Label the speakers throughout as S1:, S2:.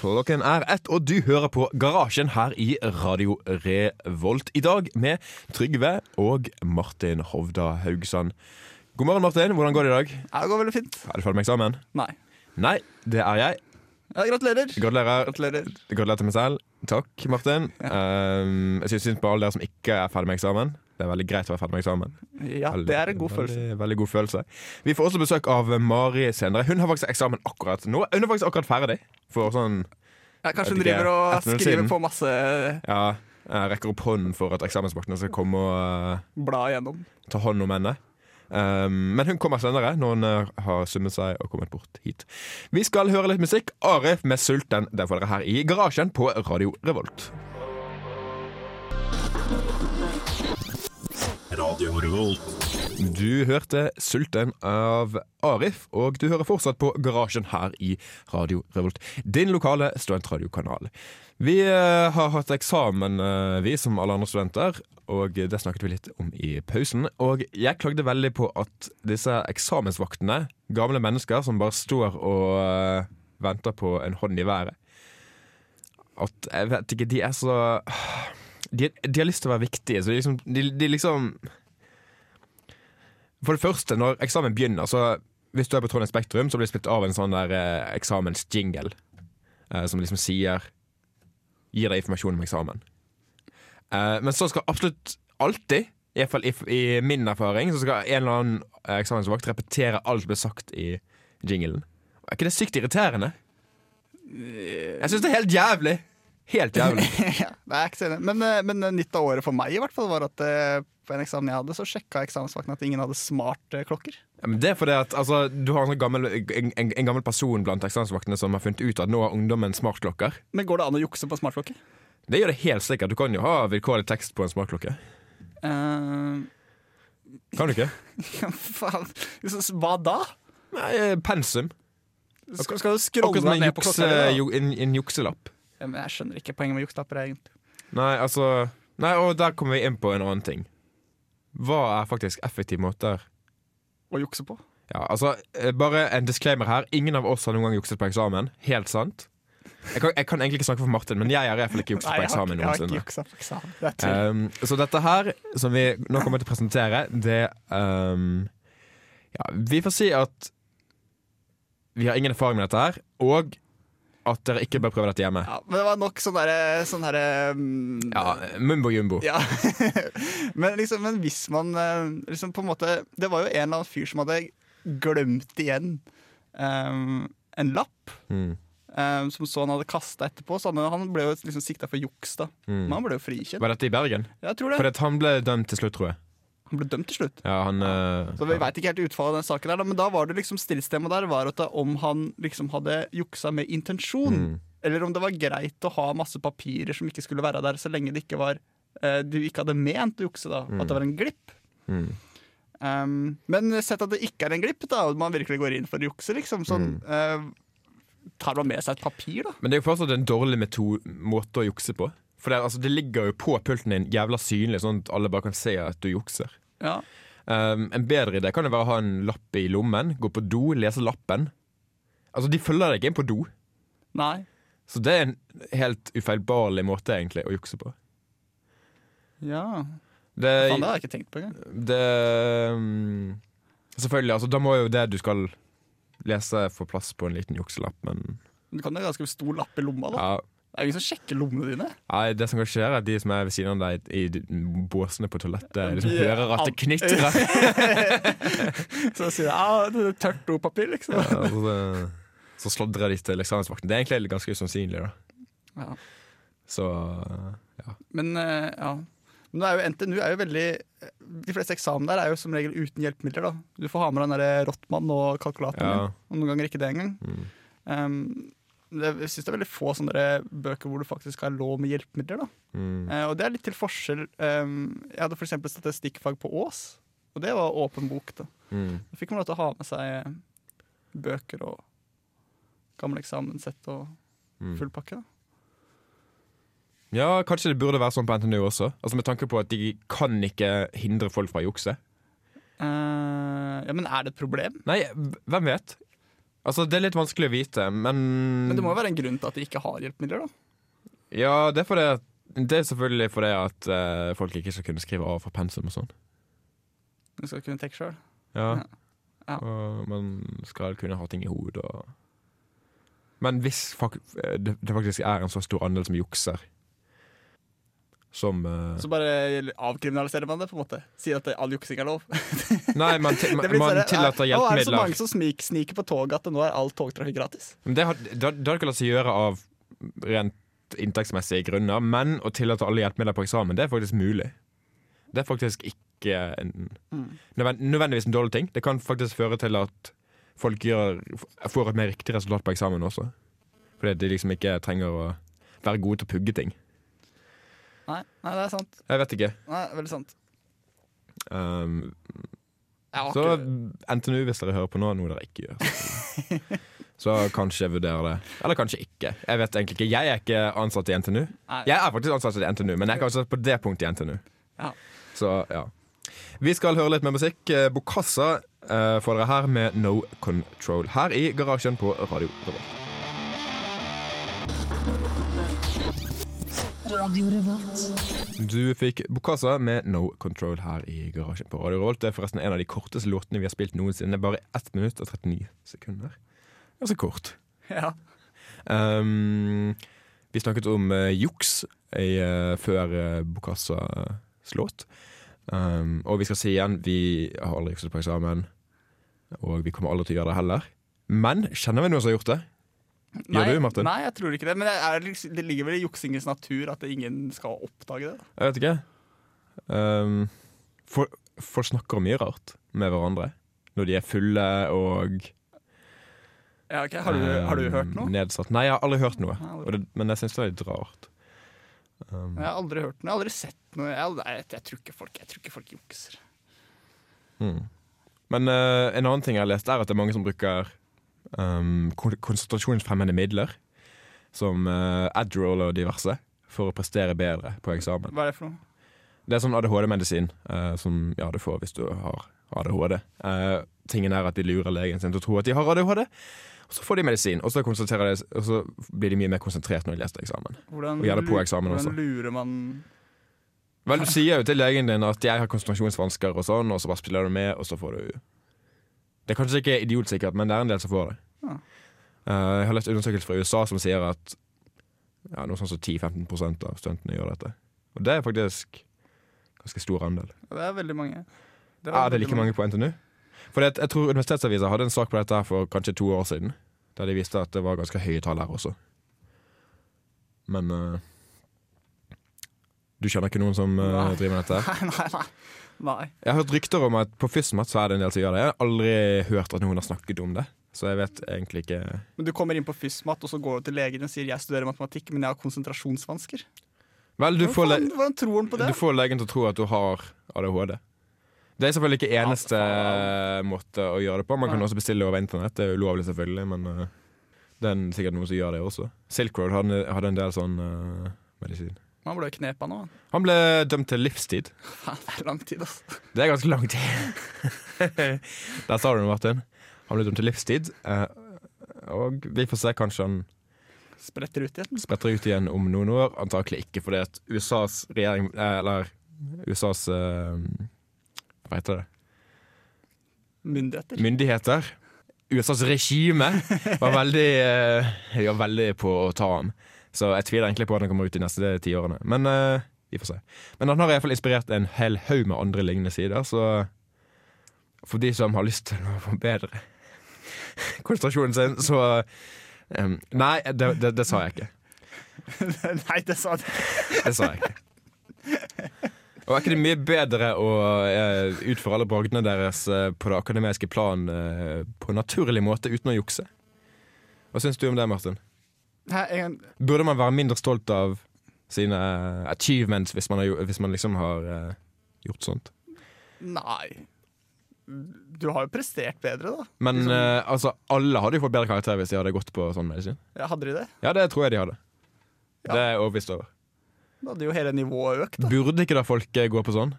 S1: Klokken er ett, og du hører på Garasjen her i Radio Revolt. I dag med Trygve og Martin Hovda Haugsand. God morgen, Martin. Hvordan går det i dag?
S2: Ja, det går veldig fint.
S1: Er du ferdig med eksamen?
S2: Nei.
S1: Nei, det er jeg.
S2: Ja, gratulerer.
S1: Gratulerer.
S2: Gratulerer.
S1: Gratulerer til meg selv. Takk, Martin. Um, jeg syns synd på alle dere som ikke er ferdig med eksamen. Det er veldig greit å være ferdig med eksamen.
S2: Ja, det er en god følelse.
S1: Veldig, veldig god følelse. Vi får også besøk av Mari senere. Hun har faktisk eksamen akkurat nå. Hun er faktisk akkurat ferdig. For sånn
S2: Ja, kanskje hun
S1: vet ikke,
S2: driver og
S1: 18 minutter
S2: skriver
S1: siden.
S2: på masse
S1: Ja, jeg rekker opp hånden for at eksamensvaktene skal komme og eh,
S2: blad igjennom.
S1: ta hånd om henne. Um, men hun kommer senere, når hun eh, har summet seg og kommet bort hit. Vi skal høre litt musikk. Arif med 'Sulten'. Den får dere her i garasjen på Radio Revolt.
S3: Radio Revolt.
S1: Du hørte 'Sulten' av Arif, og du hører fortsatt på Garasjen her i Radio Revolt. Din lokale studentradiokanal. Vi eh, har hatt eksamen, eh, vi som alle andre studenter, og det snakket vi litt om i pausen. Og jeg klagde veldig på at disse eksamensvaktene, gamle mennesker som bare står og eh, venter på en hånd i været At jeg vet ikke, de er så De, de har lyst til å være viktige, så de liksom, de, de liksom for det første, når eksamen begynner, så hvis du er på Trondheim Spektrum, så blir det spilt av en sånn der eh, eksamensjingle. Eh, som liksom sier Gir deg informasjon om eksamen. Eh, men så skal absolutt alltid, iallfall i, i min erfaring, så skal en eller annen eh, eksamensvakt repetere alt som ble sagt i jinglen. Er ikke det sykt irriterende? Jeg syns det er helt jævlig! Helt jævlig.
S2: ja, det er ikke så enig. Men, eh, men nytt av året for meg i hvert fall var at eh, på en eksamen jeg hadde, så sjekka eksamensvakten at ingen hadde smartklokker.
S1: Ja, Men det er fordi at altså, Du har en, sånn gammel, en, en, en gammel person blant eksamensvaktene som har funnet ut at nå har ungdommen smartklokker.
S2: Men går det an å jukse på smartklokke?
S1: Det gjør det helt sikkert. Du kan jo ha vilkårlig tekst på en smartklokke.
S2: Eh,
S1: Kan du ikke?
S2: faen. Hva da?
S1: Nei, eh, pensum.
S2: Skal, skal du
S1: Akkurat
S2: scrolle
S1: som
S2: deg
S1: en,
S2: ned på
S1: juks,
S2: klokka? eller
S1: eh,
S2: hva?
S1: jo, en, en jukselapp.
S2: Ja, men jeg skjønner ikke poenget med jukselapper, egentlig.
S1: Nei, altså Nei, og der kommer vi inn på en annen ting. Hva er faktisk effektive måter
S2: Å jukse på.
S1: Ja, altså, eh, bare en disclaimer her. Ingen av oss har noen gang jukset på eksamen. Helt sant. Jeg kan, jeg kan egentlig ikke snakke for Martin, men jeg har i hvert fall ikke jukset
S2: Nei,
S1: på
S2: jeg har, ikke-
S1: eksamen
S2: jeg har ikke
S1: noensinne.
S2: juksa på eksamen. Det er tull.
S1: Um, så dette her, som vi nå kommer til å presentere, det um, Ja, vi får si at vi har ingen erfaring med dette her, og at dere ikke bør prøve dette hjemme.
S2: Ja, men det var nok sånn derre sånn derre, mm,
S1: Ja, Mumbo jumbo.
S2: Ja. men, liksom, men hvis man eh, liksom på en måte Det var jo en eller annen fyr som hadde glemt igjen eh, en lapp.
S1: Mm.
S2: eh, som så han hadde kasta etterpå. Så han, han ble jo liksom sikta for juks, da.
S1: Mm.
S2: Men han ble jo frikjent.
S1: Var dette i Bergen?
S2: Jeg tror
S1: Fordi
S2: det.
S1: at han ble dømt til slutt, tror jeg.
S2: Han ble dømt til slutt.
S1: Ja, han eh,
S2: Så vi veit ikke helt utfallet av den saken, der, da, men da var det liksom stridstema der var at om han liksom hadde juksa med intensjon,
S1: Mm.
S2: eller om det var greit å ha masse papirer som ikke skulle være der, så lenge det ikke var eh, du ikke hadde ment å jukse, da. At det var en glipp.
S1: Mm.
S2: Um, men sett at det ikke er en glipp, da, og man virkelig går inn for å jukse, liksom, sånn
S1: Mm.
S2: eh, Tar man med seg et papir, da?
S1: Men det er jo fortsatt en dårlig meto- måte å jukse på. For det, er- altså, det ligger jo på pulten din jævla synlig, sånn at alle bare kan se at du jukser.
S2: Ja.
S1: Um, en bedre idé kan jo være å ha en lapp i lommen, gå på do, lese lappen. Altså, de følger deg ikke inn på do,
S2: Nei.
S1: så det er en helt ufeilbarlig måte egentlig å jukse på.
S2: Ja.
S1: Det,
S2: Faen, det har jeg ikke tenkt på engang.
S1: det um, Selvfølgelig, altså, da må jo det du skal lese, få plass på en liten jukselapp, men
S2: Du kan jo ha ganske stor lapp i lomma, da.
S1: ja.
S2: Det er jo ingen som sjekker lommene dine.
S1: Nei, det som kan skje, er at de som er ved siden av deg i de- båsene på toalettet, liksom
S2: De-
S1: hører at det knitrer.
S2: Så sier de ja, det er tørt dopapir, liksom.
S1: Ja, altså, det- så sladrer de til eksamensvakten. Det er egentlig ganske usannsynlig, da.
S2: Ja.
S1: Så
S2: Men eh, ja. Men det er jo, NTNU er jo veldig eh, De fleste eksamen der er jo som regel uten hjelpemidler. da Du får ha med deg den der Rottmann og kalkulatoren.
S1: Ja.
S2: din, Og noen ganger ikke det engang.
S1: Mm.
S2: Um, det, jeg syns det er veldig få sånne der bøker hvor du faktisk har lov med hjelpemidler. da
S1: mm.
S2: Eh, Og det er litt til forskjell. Um, jeg hadde f.eks. statistikkfag på Ås, og det var åpen bok. Da
S1: Mm.
S2: Da fikk man lov til å ha med seg eh, bøker og gamle eksamenssett og
S1: Mm.
S2: full pakke. da
S1: Ja, kanskje det burde være sånn på NTNU også. Altså Med tanke på at de kan ikke hindre folk fra å jukse.
S2: Eh, ja, men er det et problem?
S1: Nei, hvem vet? Altså, Det er litt vanskelig å vite, men
S2: Men det
S1: Mm.
S2: må jo være en grunn til at de ikke har hjelpemidler, da.
S1: Ja, det er, fordi at, det er selvfølgelig fordi at eh, folk ikke skal kunne skrive av for pensum og sånn.
S2: Du skal kunne tenke sjøl.
S1: Ja.
S2: Ja. Ja.
S1: Og man skal kunne ha ting i hodet og Men hvis fak eh, det det faktisk er en så stor andel som jukser som eh,
S2: Så bare avkriminaliserer man det, på en måte. Sier at det- all juksing er lov.
S1: Nei, man, ti-
S2: Det blir
S1: man
S2: sånn,
S1: tillater
S2: «Å, Er det så
S1: hjelpemidler.
S2: mange som snik, sniker på toget at nå er all togtrafikk gratis?
S1: Men Det har det har- det har ikke latt seg gjøre av rent inntektsmessige grunner, men å tillate alle hjelpemidler på eksamen, det er faktisk mulig. Det er faktisk ikke en,
S2: Mm.
S1: nødvend- nødvendigvis en dårlig ting. Det kan faktisk føre til at folk gjør, f- får et mer riktig resultat på eksamen også. Fordi de liksom ikke trenger å være gode til å pugge ting.
S2: Nei, nei, det er sant.
S1: Jeg vet ikke.
S2: Nei, veldig sant.
S1: Um,
S2: Jeg har
S1: så
S2: ikke-
S1: NTNU, hvis dere hører på nå, noe dere ikke gjør. Så kanskje vurdere det. Eller kanskje ikke. Jeg vet egentlig ikke. Jeg er ikke ansatt i NTNU.
S2: nei.
S1: Jeg er faktisk ansatt i NTNU, men jeg er ikke ansatt på det punktet i NTNU.
S2: Ja.
S1: Så, ja. Vi skal høre litt mer musikk. Eh, Bokassa eh, får dere her med No Control. Her i garasjen på Radio Revolt.
S3: Radio Revolt.
S1: Du fikk Bokassa med No Control her i garasjen på Radio Revolt. Det er forresten en av de korteste låtene vi har spilt noensinne. Bare 1 minutt og 39 sekunder. Ganske kort.
S2: Ja.
S1: Um, vi snakket om eh, juks i, eh, før uh, Bokassas låt. Um, og vi skal si igjen, vi har aldri jukset på eksamen. Og vi kommer aldri til å gjøre det heller. Men kjenner vi noen som har gjort det? Gjør
S2: Nei,
S1: du, Martin?
S2: Nei, jeg tror ikke det. Men det, er, liksom- det ligger vel i juksingens natur at ingen skal oppdage det. da.
S1: Jeg vet ikke. Um, for, folk snakker mye rart med hverandre når de er fulle og
S2: Ja, ok. har, du, har du hørt
S1: um,
S2: noe? Ah,
S1: Nedsatt. Nei, jeg har aldri hørt noe.
S2: Nei, aldri.
S1: Og det, men jeg syns det er litt rart. Um,
S2: Jeg har aldri hørt noe. Jeg har aldri sett noe. Jeg, nei, jeg, jeg, tror, ikke folk, jeg tror ikke folk jukser.
S1: Mm. Men eh, en annen ting jeg har lest, er at det er mange som bruker um, kon- konsentrasjonsfremmende midler, som eh, Adderall og diverse, for å prestere bedre på eksamen.
S2: Hva er det for noe?
S1: Det er sånn ADHD-medisin eh, som ja, du får hvis du har ADHD. Eh, tingen er at de lurer legen sin til å tro at de har ADHD, og så får de medisin. Og så, konsentrerer de, og så blir de mye mer konsentrert når de leser eksamen.
S2: Hvordan,
S1: Og gjerne på
S2: lu-
S1: eksamen
S2: hvordan
S1: også.
S2: lurer man
S1: Vel, du sier jo til legen din at jeg har konsentrasjonsvansker og sånn, og så bare spiller du med, og så får du Det er kanskje ikke idiotsikkert, men det er en del som får det.
S2: Ja.
S1: Eh, jeg har lest undersøkelser fra USA som sier at ja, noe sånn som 10-15 av studentene gjør dette. Og det er faktisk ganske stor andel.
S2: Det er veldig mange. Det
S1: er det like mange på NTNU? For jeg, jeg tror Universitetsavisa hadde en sak på dette her for kanskje to år siden, der de viste at det var ganske høye tall her også. Men eh, du kjenner ikke noen som eh,
S2: Nei.
S1: driver med dette? her?
S2: Nei, nei, nei. nei.
S1: Jeg har hørt rykter om at på FysMat så er det en del som gjør det. Jeg har aldri hørt at noen har snakket om det, så jeg vet egentlig ikke
S2: Men du kommer inn på FysMat, og så går du til legen og sier 'jeg studerer matematikk, men jeg har konsentrasjonsvansker'.
S1: Vel, du får, le
S2: hvordan, hvordan tror han på det?
S1: du får legen til å tro at du har ADHD. Det er selvfølgelig ikke eneste måte å gjøre det på. Man kan
S2: Nei.
S1: også bestille over internett. Det er ulovlig, selvfølgelig, men eh, det er sikkert noen som gjør det også. Silk Road hadde, hadde en del sånn eh, medisin.
S2: Han ble knepa nå. han.
S1: Han ble dømt til livstid.
S2: Faen, det er lang tid, altså.
S1: Det er ganske lang tid. Der sa du det, Martin. Han ble dømt til livstid, eh, og vi får se. Kanskje han
S2: Spretter ut igjen.
S1: spretter ut igjen om noen år. Antakelig ikke, fordi at USAs regjering eh, Eller USAs eh, Hva heter det?
S2: Myndigheter.
S1: Myndigheter. USAs regime var veldig, eh, ja, veldig på å ta ham. Så jeg tviler egentlig på at han kommer ut de neste tiårene. Men eh, vi får se. Men han har iallfall inspirert en hel haug med andre lignende sider, så for de som har lyst til å forbedre konsentrasjonen sin, så eh, Nei, det, det, det sa jeg ikke.
S2: Nei, det sa det.
S1: Det sa jeg ikke. Og er ikke det mye bedre å eh, utføre alle bragdene deres eh, på det akademiske plan eh, på en naturlig måte uten å jukse? Hva syns du om det, Martin?
S2: Nei, en gang-
S1: Burde man være mindre stolt av sine eh, achievements hvis man, har, jo- hvis man liksom har eh, gjort sånt?
S2: Nei. Du har jo prestert bedre, da.
S1: Men
S2: Liksom-
S1: eh, altså, alle hadde jo fått bedre karakter hvis de hadde gått på sånn medisin.
S2: Ja, hadde de det?
S1: Ja, det tror jeg de hadde.
S2: Ja.
S1: Det er jeg overbevist over.
S2: Da hadde jo hele nivået økt. da.
S1: Burde ikke da folk eh, gå på sånn?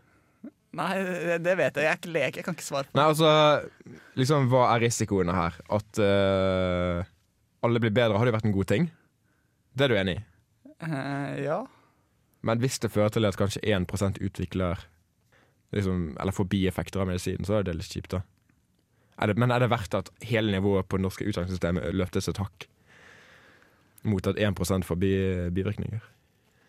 S2: Nei, det- det vet jeg. Jeg er ikke lek, jeg kan ikke svare på
S1: Nei, altså, liksom, hva er risikoene her? At eh, alle blir bedre, har det jo vært en god ting. Det er du enig i.
S2: Eh, Ja.
S1: Men hvis det fører til at kanskje 1 utvikler liksom, eller får bieffekter av medisinen, så er det litt kjipt, da. Er det, men er det verdt at hele nivået på det norske utdanningssystemet løftes et hakk mot at 1 får bi, bivirkninger?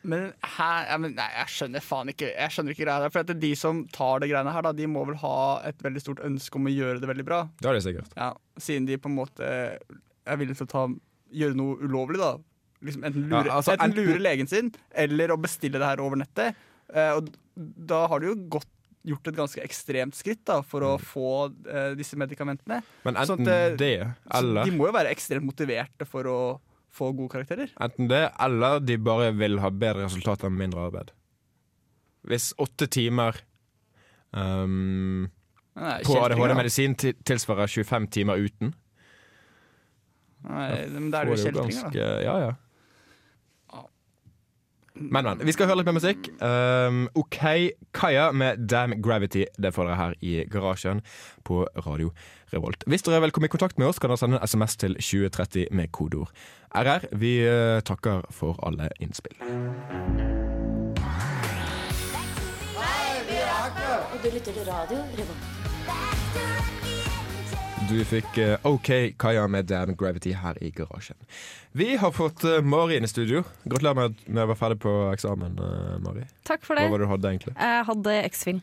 S2: Men her, ja, men nei, jeg skjønner faen ikke Jeg skjønner ikke greia der. For at de som tar det greiene her, da, de må vel ha et veldig stort ønske om å gjøre det veldig bra.
S1: Det har de sikkert.
S2: Ja, Siden de på en måte er villige til å ta, gjøre noe ulovlig, da. Liksom enten
S1: Ja,
S2: lure,
S1: altså,
S2: enten
S1: enten-
S2: lure legen sin, eller å bestille det her over nettet. Eh, og da har du jo gått, gjort et ganske ekstremt skritt da, for
S1: Mm.
S2: å få eh, disse medikamentene.
S1: Men
S2: Sånn
S1: enten
S2: at,
S1: det,
S2: Så
S1: eller
S2: de må jo være ekstremt motiverte for å få gode karakterer.
S1: Enten det, eller de bare vil ha bedre resultater med mindre arbeid. Hvis åtte timer ehm,
S2: Nei,
S1: på
S2: kjeltringer, da.
S1: ADHD-medisin ti- tilsvarer 25 timer uten,
S2: Nei, Men da er
S1: får du
S2: det jo kjeltringer, da. Ah.
S1: ganske Ja, ja.
S2: Ja.
S1: Men, men. Vi skal høre litt mer musikk. Ehm, OK, Kaja med Damn Gravity. Det får dere her i garasjen på Radio Revolt. Hvis dere vil komme i kontakt med oss, kan dere sende en SMS til 2030 med kodeord RR. Vi eh, takker for alle innspill.
S3: Og du lytter til radio Revolt.
S1: Du fikk eh, OK Kaja med Damn Gravity her i garasjen. Vi har fått eh, Mari inn i studio. Gratulerer med at vi var ferdig på eksamen, eh, Mari.
S4: Takk for
S1: Hva
S4: det.
S1: var det du hadde egentlig?
S4: Jeg hadde X-Fil.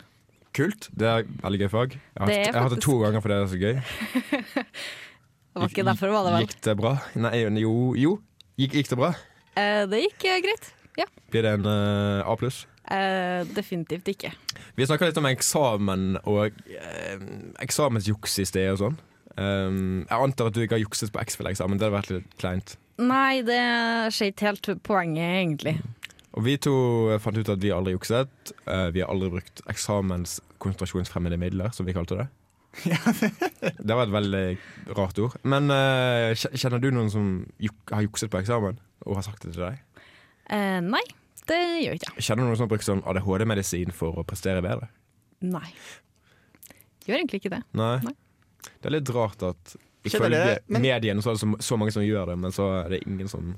S1: Kult. Det er veldig gøy fag. Jeg har, hatt,
S4: Det er
S1: jeg har hatt det to ganger fordi det er så gøy.
S4: Det var ikke derfor det var det, vel.
S1: Gikk det bra? Nei, jo. jo. Gikk, gikk det bra?
S4: Eh, Det gikk eh, greit. Ja.
S1: Blir det en eh, A pluss?
S4: Eh, Definitivt ikke.
S1: Vi snakka litt om eksamen og eh, eksamensjuks i sted og sånn. Um, jeg antar at du ikke har jukset på X-Fill-eksamen. Det hadde vært litt kleint.
S4: Nei, det skjer ikke helt poenget, egentlig.
S1: Og vi to eh, fant ut at vi aldri jukset. Eh, Vi har aldri brukt eksamenskonsentrasjonsfremmende midler, som vi kalte det. det var et veldig rart ord. Men eh, kje- kjenner du noen som juk har jukset på eksamen, og har sagt det til deg?
S4: Eh, Nei, det gjør ikke jeg.
S1: Kjenner du noen som har brukt sånn ADHD-medisin for å prestere bedre?
S4: Nei. Gjør egentlig ikke det.
S1: Nei.
S4: Nei.
S1: Det er litt rart at
S2: Kjenner
S1: ifølge
S2: dere- men-
S1: mediene så er det så, så mange som gjør det, men så er det ingen som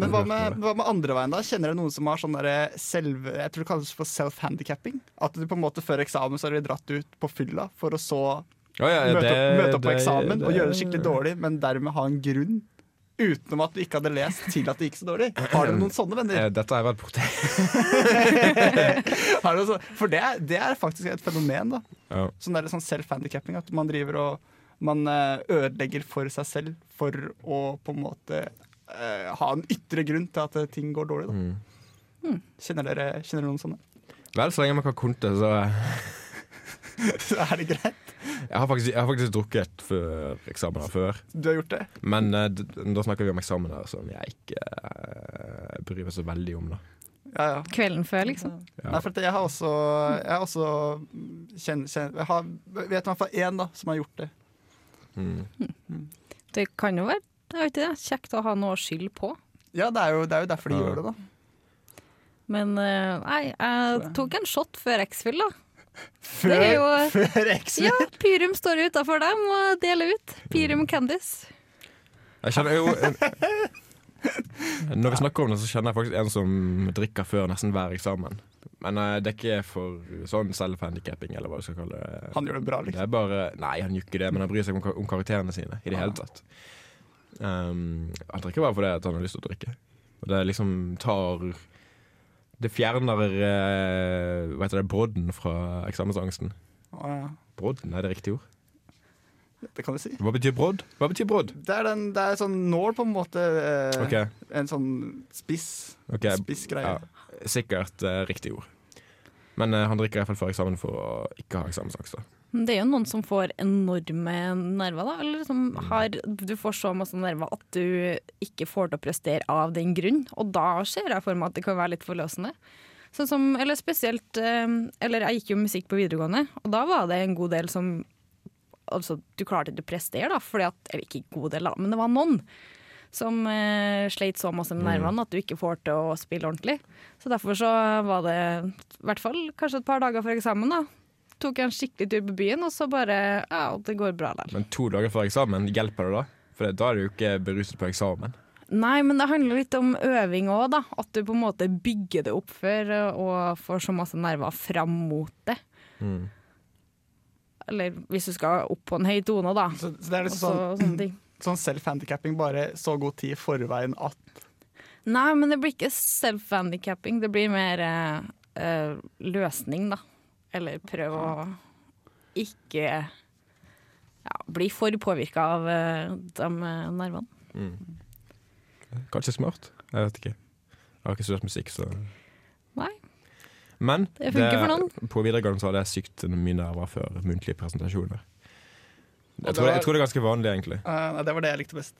S2: Men hva
S1: Har du hørt
S2: med, hva med andre veien, da? Kjenner dere noen som har sånn derre selve Jeg tror det kalles for self-handicapping? At du på en måte før eksamen så har du dratt ut på fylla for å så
S1: Å ja,
S2: møte opp,
S1: Eh, det-
S2: møte opp på
S1: det-
S2: eksamen og gjøre det skikkelig
S1: det-
S2: dårlig, men dermed ha en grunn? Utenom at du ikke hadde lest til at det gikk så dårlig. Har dere noen sånne venner?
S1: Eh, Dette har jeg vært borti.
S2: Har dere så, for det, er- det er faktisk et fenomen. da
S1: Ja.
S2: Sånn, der sånn self-handicapping. At man driver og man eh, ødelegger for seg selv for å på en måte eh, ha en ytre grunn til at eh, ting går dårlig. Da.
S1: Mm.
S4: Mm.
S2: Kjenner, dere, kjenner dere noen sånne?
S1: Vel, så lenge man kan konte, så
S2: Så er det greit?
S1: Jeg har faktisk, jeg har faktisk drukket før eksamener før.
S2: Du har gjort det?
S1: Men eh, d da snakker vi om eksamener som jeg ikke eh, bryr meg så veldig om. da
S2: Ja, ja.
S4: Kvelden før, liksom.
S2: Nei, for at jeg har også, jeg har også kjenn, kjenn, jeg har, vet i hvert fall én da, som har gjort det.
S1: Mm.
S4: Det kan jo være jeg vet ikke, det, kjekt å ha noe å skylde på.
S2: Ja, det er jo, det er jo derfor de
S1: Ja.
S2: gjør det, da.
S4: Men eh, nei, jeg tok en shot før X-Fil, da.
S2: Før,
S4: Det er jo-
S2: før X.
S4: Ja, Pyrum står utafor dem og deler ut. Pyrum Candice.
S1: Jeg kjenner jo Når vi snakker om det, så kjenner jeg faktisk en som drikker før nesten hver eksamen. Men eh, det er ikke for sånn self-handicapping, eller hva du skal kalle det.
S2: Han gjør det bra,
S1: Det
S2: liksom.
S1: er bare Nei, han gjør ikke det, men han bryr seg om, kar- om karakterene sine i det hele tatt. Um, han drikker bare fordi at han har lyst til å drikke. Og det liksom tar Det fjerner eh, Hva heter det, brodden fra eksamensangsten.
S2: Å, ja.
S1: Brodden, er det riktig ord?
S2: Det kan du si.
S1: Hva betyr brodd? Hva betyr brodd?
S2: Det er, den, det er sånn nål, på en måte. eh,
S1: Ok,
S2: En sånn spiss,
S1: ok
S2: spiss greie.
S1: ja, Sikkert eh, riktig ord. Men eh, han drikker iallfall før eksamen for å ikke ha eksamensangst. da.
S4: Men Det er jo noen som får enorme nerver, da. Eller som har Du får så masse nerver at du ikke får til å prestere av den grunn. Og da ser jeg for meg at det kan være litt forløsende. Sånn som, eller spesielt eh, Eller jeg gikk jo musikk på videregående, og da var det en god del som Altså, du klarte ikke å prestere, da, fordi at Eller ikke en god del, da, men det var noen. Som eh, sleit så masse
S2: Mm.
S4: med nervene at du ikke får til å spille ordentlig. Så derfor så var det i hvert fall kanskje et par dager før eksamen, da. tok jeg en skikkelig tur på byen, og så bare Ja, det går bra der.
S1: Men to dager før eksamen, hjelper det da? For da er du jo ikke beruset på eksamen.
S4: Nei, men det handler litt om øving òg, da. At du på en måte bygger det opp for og får så masse nerver fram mot det.
S2: Mm.
S4: Eller hvis du skal opp på en høy tone, da.
S2: Så, så det er
S4: Og
S2: liksom
S4: så, sånne ting.
S2: sånn, sånn self-handikapping, bare så god tid i forveien at
S4: Nei, men det blir ikke self-handicapping. Det blir mer eh, eh, løsning, da. Eller prøv å ikke ja, bli for påvirka av eh, de eh, nervene.
S1: Mm. Kanskje smart? Jeg vet ikke. Jeg har ikke studert musikk, så
S4: Nei.
S1: Men
S4: Det funker for
S1: på videregående så hadde jeg sykt mye nerver før muntlige presentasjoner.
S2: Og
S1: Jeg tror,
S2: da-
S1: det, jeg tror det er ganske vanlig, egentlig.
S2: eh, Nei, det var det jeg likte best.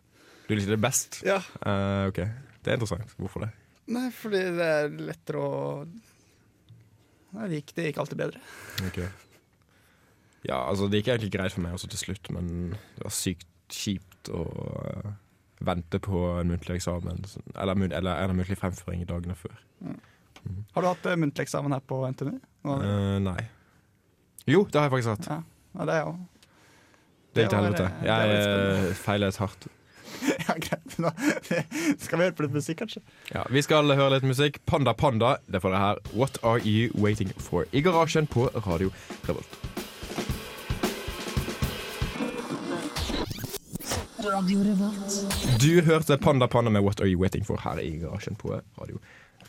S1: Du likte det best?
S2: Ja,
S1: Eh, ok, Det er interessant. Hvorfor det?
S2: Nei, fordi det er lettere å Nei, det gikk, det gikk alltid bedre.
S1: Ok. Ja, altså Det gikk egentlig greit for meg også til slutt, men det var sykt kjipt å eh, vente på en muntlig eksamen sånn- eller, mun- eller en muntlig fremføring dagene før.
S2: Har du hatt eh, muntlig eksamen her på NTNU? Nå,
S1: Eh, nei. Jo, det har jeg faktisk hatt.
S2: ja. ja, det er jo
S1: Det gikk til
S2: Det var,
S1: helvete.
S2: eh, det var
S1: Jeg
S2: litt
S1: eh, feilet hardt.
S2: Ja, greit. Da skal vi høre på litt musikk, kanskje.
S1: Ja, vi skal høre litt musikk. Panda Panda, det får dere her. What Are You Waiting For? I garasjen på Radio Revolt. Du hørte Panda Panda med What Are You Waiting For her i garasjen på Radio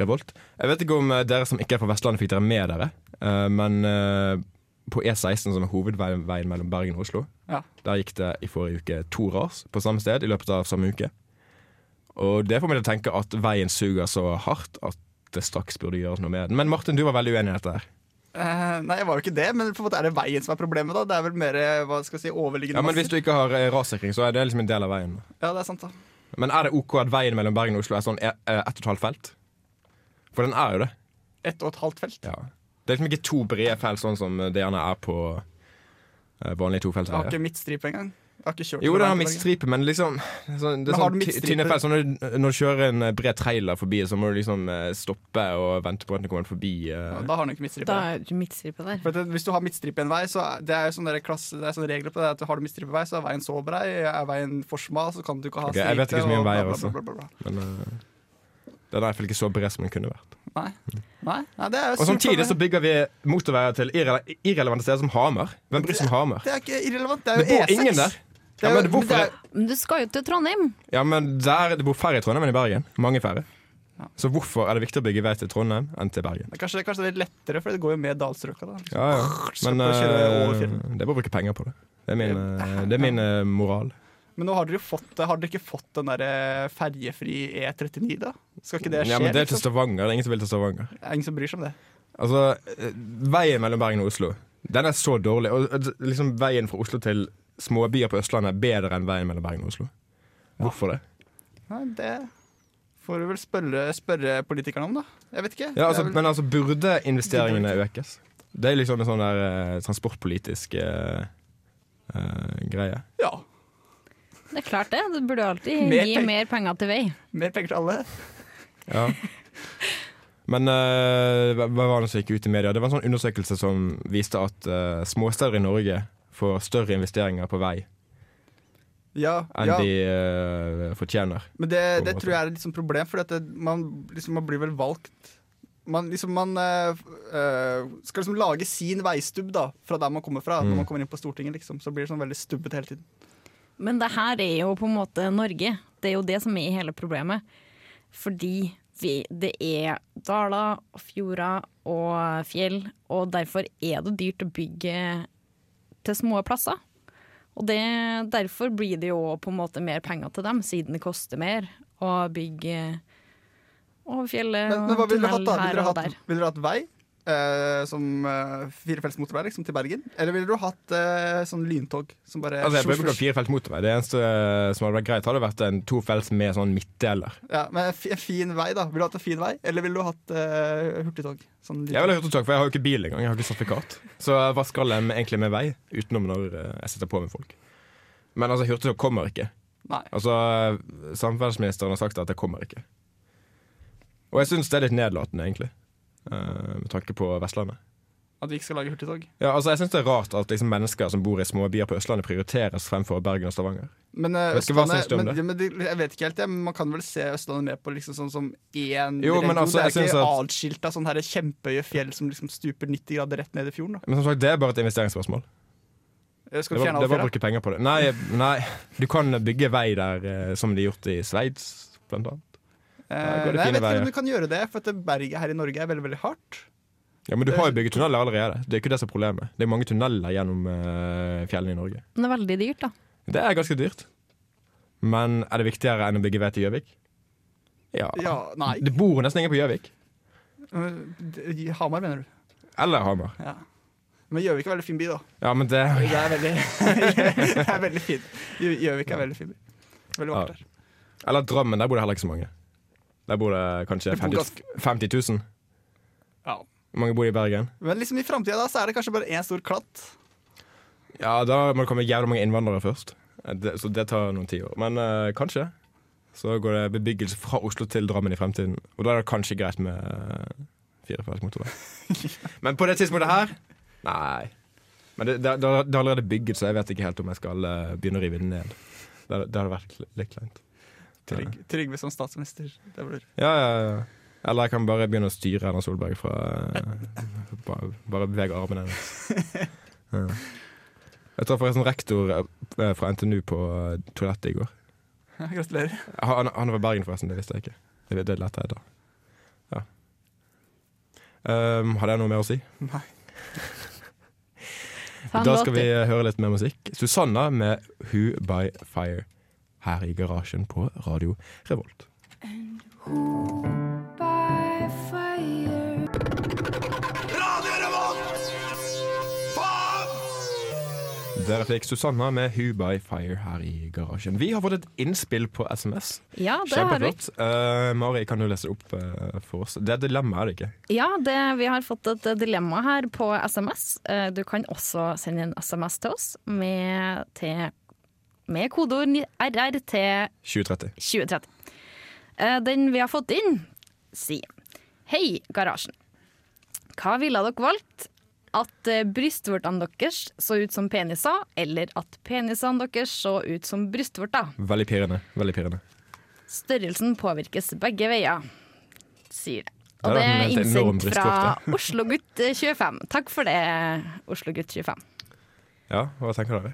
S1: Revolt. Jeg vet ikke om eh, dere som ikke er fra Vestlandet fikk dere med dere, eh, men eh, på E16, som er hovedveien veien mellom Bergen og Oslo,
S2: Ja.
S1: der gikk det i forrige uke to ras på samme sted i løpet av samme uke. Og det får meg til å tenke at veien suger så hardt at det straks burde gjøres noe med den. Men Martin, du var veldig uenig i dette her.
S2: Eh, nei, jeg var jo ikke det, men på en måte er det veien som er problemet. da Det er vel mer eh, hva skal jeg si, overliggende
S1: Ja, Men hvis
S2: masser.
S1: du ikke har eh, rassikring, så er det liksom en del av veien.
S2: Ja, det er sant, da.
S1: Men er det OK at veien mellom Bergen og Oslo er sånn eh, eh, ett og et halvt felt? For den er jo det.
S2: Ett og et halvt felt.
S1: Ja. Det er liksom ikke to brede felt sånn som det gjerne er på eh, vanlige
S2: Jeg har
S1: tofeltsveier.
S2: ikke midtstripe engang. Jeg har ikke kjørt
S1: Jo,
S2: over
S1: den har
S2: veien til Bergen.
S1: midtstripe, men liksom det er sånn, det er
S2: Men har
S1: sånn
S2: du
S1: ty-
S2: midtstripe-
S1: tynne felt. Så når, du- når du kjører en eh, bred trailer forbi, så må du liksom eh, stoppe og vente på at den kommer forbi. eh.
S2: Ja, Da har den jo ikke midtstripe.
S4: Da er du midtstripe der.
S2: For at det, hvis du har midtstripe i en vei, så er det er jo sånne, der klasse, det er sånne regler på det. At har du midtstripe vei, så er veien så brei. Er veien for smal, så kan du ikke ha
S1: Ok, jeg vet ikke så mye om
S2: og bla,
S1: veier,
S2: bla,
S1: altså.
S2: bla, bla, bla, bla.
S1: Men eh, den er i hvert fall ikke så bred som den kunne vært.
S2: Nei. Nei. Nei, det er
S1: Og
S2: jo surt, da,
S1: Samtidig
S2: det.
S1: så bygger vi motorveier til irre irrelevante steder som Hamar. Hvem bryr seg om Hamar?
S2: Det er ikke irrelevant. Det er E
S1: Det
S2: jo
S1: bor
S2: E6.
S1: ingen der.
S2: Det er
S1: Ja,
S2: jo-
S1: men hvorfor
S2: det er-
S1: det?
S4: Men du skal jo til Trondheim.
S1: Ja, men der det bor færre i Trondheim enn i Bergen. Mange færre. Så hvorfor er det viktig å bygge vei til Trondheim enn til Bergen?
S2: det er Kanskje, kanskje det er litt lettere, for det går jo med dalstrøka. da liksom.
S1: Ja, ja. Men
S2: Slipp å kjøre over
S1: eh,
S2: fjellet.
S1: det er bare å bruke penger på det. Det er min, eh, det er min eh, moral.
S2: Men nå har dere jo fått Har dere ikke fått den der eh, ferjefri E39, da? Skal ikke det skje?
S1: Ja, men det er til
S2: liksom?
S1: Stavanger. Det er ingen som vil til Stavanger.
S2: Det er ingen som bryr seg om det.
S1: Altså, eh, veien mellom Bergen og Oslo, den er så dårlig. Og eh, liksom veien fra Oslo til småbyer på Østlandet er bedre enn veien mellom Bergen og Oslo. Hvorfor det?
S2: Nei, det får du vel spørre, spørre politikerne om, da. Jeg vet ikke.
S1: Ja, altså,
S2: Det er vel-
S1: men altså, burde investeringene økes? Det er liksom en sånn der eh, transportpolitisk eh, eh, greie.
S2: ja.
S4: Det er klart det. Du burde alltid
S2: Mer
S4: gi
S2: penger.
S4: mer penger til vei.
S2: Mer penger til alle.
S1: Ja. Men eh, hva hva var det som gikk ut i media? Det var en sånn undersøkelse som viste at eh, småsteder i Norge får større investeringer på vei
S2: Ja,
S1: enn
S2: ja.
S1: de eh, fortjener.
S2: Men det,
S1: på en
S2: det
S1: måte.
S2: tror jeg er et liksom problem, for at det, man, liksom, man blir vel valgt Man, liksom, man eh, eh, skal liksom lage sin veistubb da, fra der man kommer fra.
S1: Mm.
S2: Når man kommer inn på Stortinget, liksom, så blir det sånn veldig stubbete hele tiden.
S4: Men det her er jo på en måte Norge. Det er jo det som er hele problemet. Fordi vi, det er daler og fjorder og fjell, og derfor er det dyrt å bygge til små plasser. Og det, derfor blir det jo på en måte mer penger til dem, siden det koster mer å bygge over fjellet
S2: Men, men hva
S4: og
S2: ville dere hatt,
S4: tunnel
S2: da? Ville
S4: her
S2: dere
S4: og
S2: hatt,
S4: der.
S2: vil dere hatt vei? eh, som eh, firefelts motorvei liksom, til Bergen? Eller ville du hatt eh, sånn lyntog som bare
S1: Altså, jeg
S2: svosj,
S1: prøver ikke å ha
S2: svosj?
S1: firefelts motorvei. Det eneste eh, som hadde vært greit, hadde vært en tofelts med sånn midtdeler.
S2: ja, men en fi- en fin vei, da. Ville du hatt en fin vei, eller ville du hatt eh, hurtigtog? Sånn
S1: Jeg vil ha hurtigtog, for jeg har jo ikke bil engang. Jeg har ikke sertifikat. Så hva skal jeg med- egentlig med vei, utenom når eh, jeg sitter på med folk? Men altså, hurtigtog kommer ikke.
S2: Nei.
S1: Altså, Samferdselsministeren har sagt at det kommer ikke. Og jeg syns det er litt nedlatende, egentlig. eh, Med tanke på Vestlandet.
S2: At vi ikke skal lage hurtigtog.
S1: Ja, altså, jeg syns det er rart at liksom, mennesker som bor i små byer på Østlandet, prioriteres fremfor Bergen og Stavanger.
S2: Men, eh,
S1: Vet ikke hva
S2: Østlandet-
S1: syns du om
S2: men,
S1: det?
S2: Ja, men det? Jeg vet ikke helt, jeg, men man kan vel se Østlandet med på liksom sånn som én
S1: Jo, men altså,
S2: det
S1: jeg
S2: er
S1: syns
S2: ikke
S1: at-
S2: atskilt av sånne her kjempehøye fjell som liksom stuper 90 grader rett ned i fjorden. Da.
S1: Men som sagt, det er bare et investeringsspørsmål.
S2: Eh, Skal
S1: Det
S2: vi
S1: var,
S2: fjerne
S1: det
S2: alle
S1: var å
S2: fjellene?
S1: bruke penger på det. Nei, nei, du kan bygge vei der, eh, som de har gjort i Sveits, blant annet.
S2: Eh,
S1: går det
S2: Nei, jeg
S1: fine
S2: vet ikke
S1: veier.
S2: om du kan gjøre det, for at berget her i Norge er veldig veldig hardt.
S1: Ja, Men du har jo bygget tunneler allerede. Det er ikke det som er problemet. Det er mange tunneler gjennom eh, fjellene i Norge.
S4: Men det er veldig dyrt, da.
S1: Det er ganske dyrt. Men er det viktigere enn å bygge vei til Gjøvik? Ja.
S2: Ja, nei.
S1: Det bor nesten ingen på Gjøvik.
S2: Eh, d- Hamar, mener du.
S1: Eller Hamar.
S2: Ja. Men Gjøvik er en veldig fin by, da.
S1: Ja, men det
S2: Det er veldig, det er veldig fint. Gjø- Gjøvik er en veldig fin by. Veldig
S1: Ja.
S2: vakkert der.
S1: Eller Drammen. Der bor det heller ikke så mange. Der bor det kanskje
S2: Det bor
S1: 50,
S2: ganske-
S1: 50 000.
S2: Ja.
S1: Hvor mange bor det i Bergen?
S2: Men liksom i framtida så er det kanskje bare én stor klatt.
S1: Ja, da må det komme jævla mange innvandrere først. Eh, Det, så det tar noen tiår. Men eh, kanskje. Så går det bebyggelse fra Oslo til Drammen i fremtiden. Og da er det kanskje greit med eh, firefelts motorvei. Men på det tidspunktet her Nei. Men det, det, det er det er allerede bygget, så jeg vet ikke helt om jeg skal eh, begynne å rive den ned. Det, det hadde vært litt kleint.
S2: Trygg, Trygve som statsminister. Det blir
S1: Ja, ja, ja. Eller jeg kan bare begynne å styre Erna Solberg fra Bare, bare bevege armene hennes. Ja. Jeg traff forresten rektor eh, fra NTNU på eh, toalettet i går.
S2: Gratulerer.
S1: Han, han er fra Bergen, forresten. Det visste jeg ikke. Det, det lærte jeg da. Ja. Um, hadde jeg noe mer å si?
S2: Nei.
S4: Ta en
S1: Da
S4: låt,
S1: skal
S4: du.
S1: vi eh, høre litt mer musikk. Susanna med 'Who by Fire' her i garasjen på Radio Revolt. Dere fikk Susanna med 'Who by Fire' her i garasjen. Vi har fått et innspill på SMS.
S4: Ja, det har vi.
S1: Kjempeflott. Eh, Mari, kan du lese det opp eh, for oss? Det er dilemma, er det ikke?
S4: Ja, det, vi har fått et dilemma her på SMS. Eh, Du kan også sende en SMS til oss med, til, med kodeord ni- RR til
S1: 2030.
S4: 2030. Eh, Den vi har fått inn, sier Hei, garasjen. Hva ville dere valgt? At eh, brystvortene deres så ut som peniser, eller at penisene deres så ut som brystvorter?
S1: Veldig pirrende. Veldig pirrende.
S4: Størrelsen påvirkes begge veier, sier det. Og
S1: Der
S4: det
S1: har
S4: er
S1: hun et enormt
S4: innsendt fra
S1: brystvorte.
S4: Oslogutt 25. Takk for det, Oslogutt 25.
S1: Ja, hva tenker dere?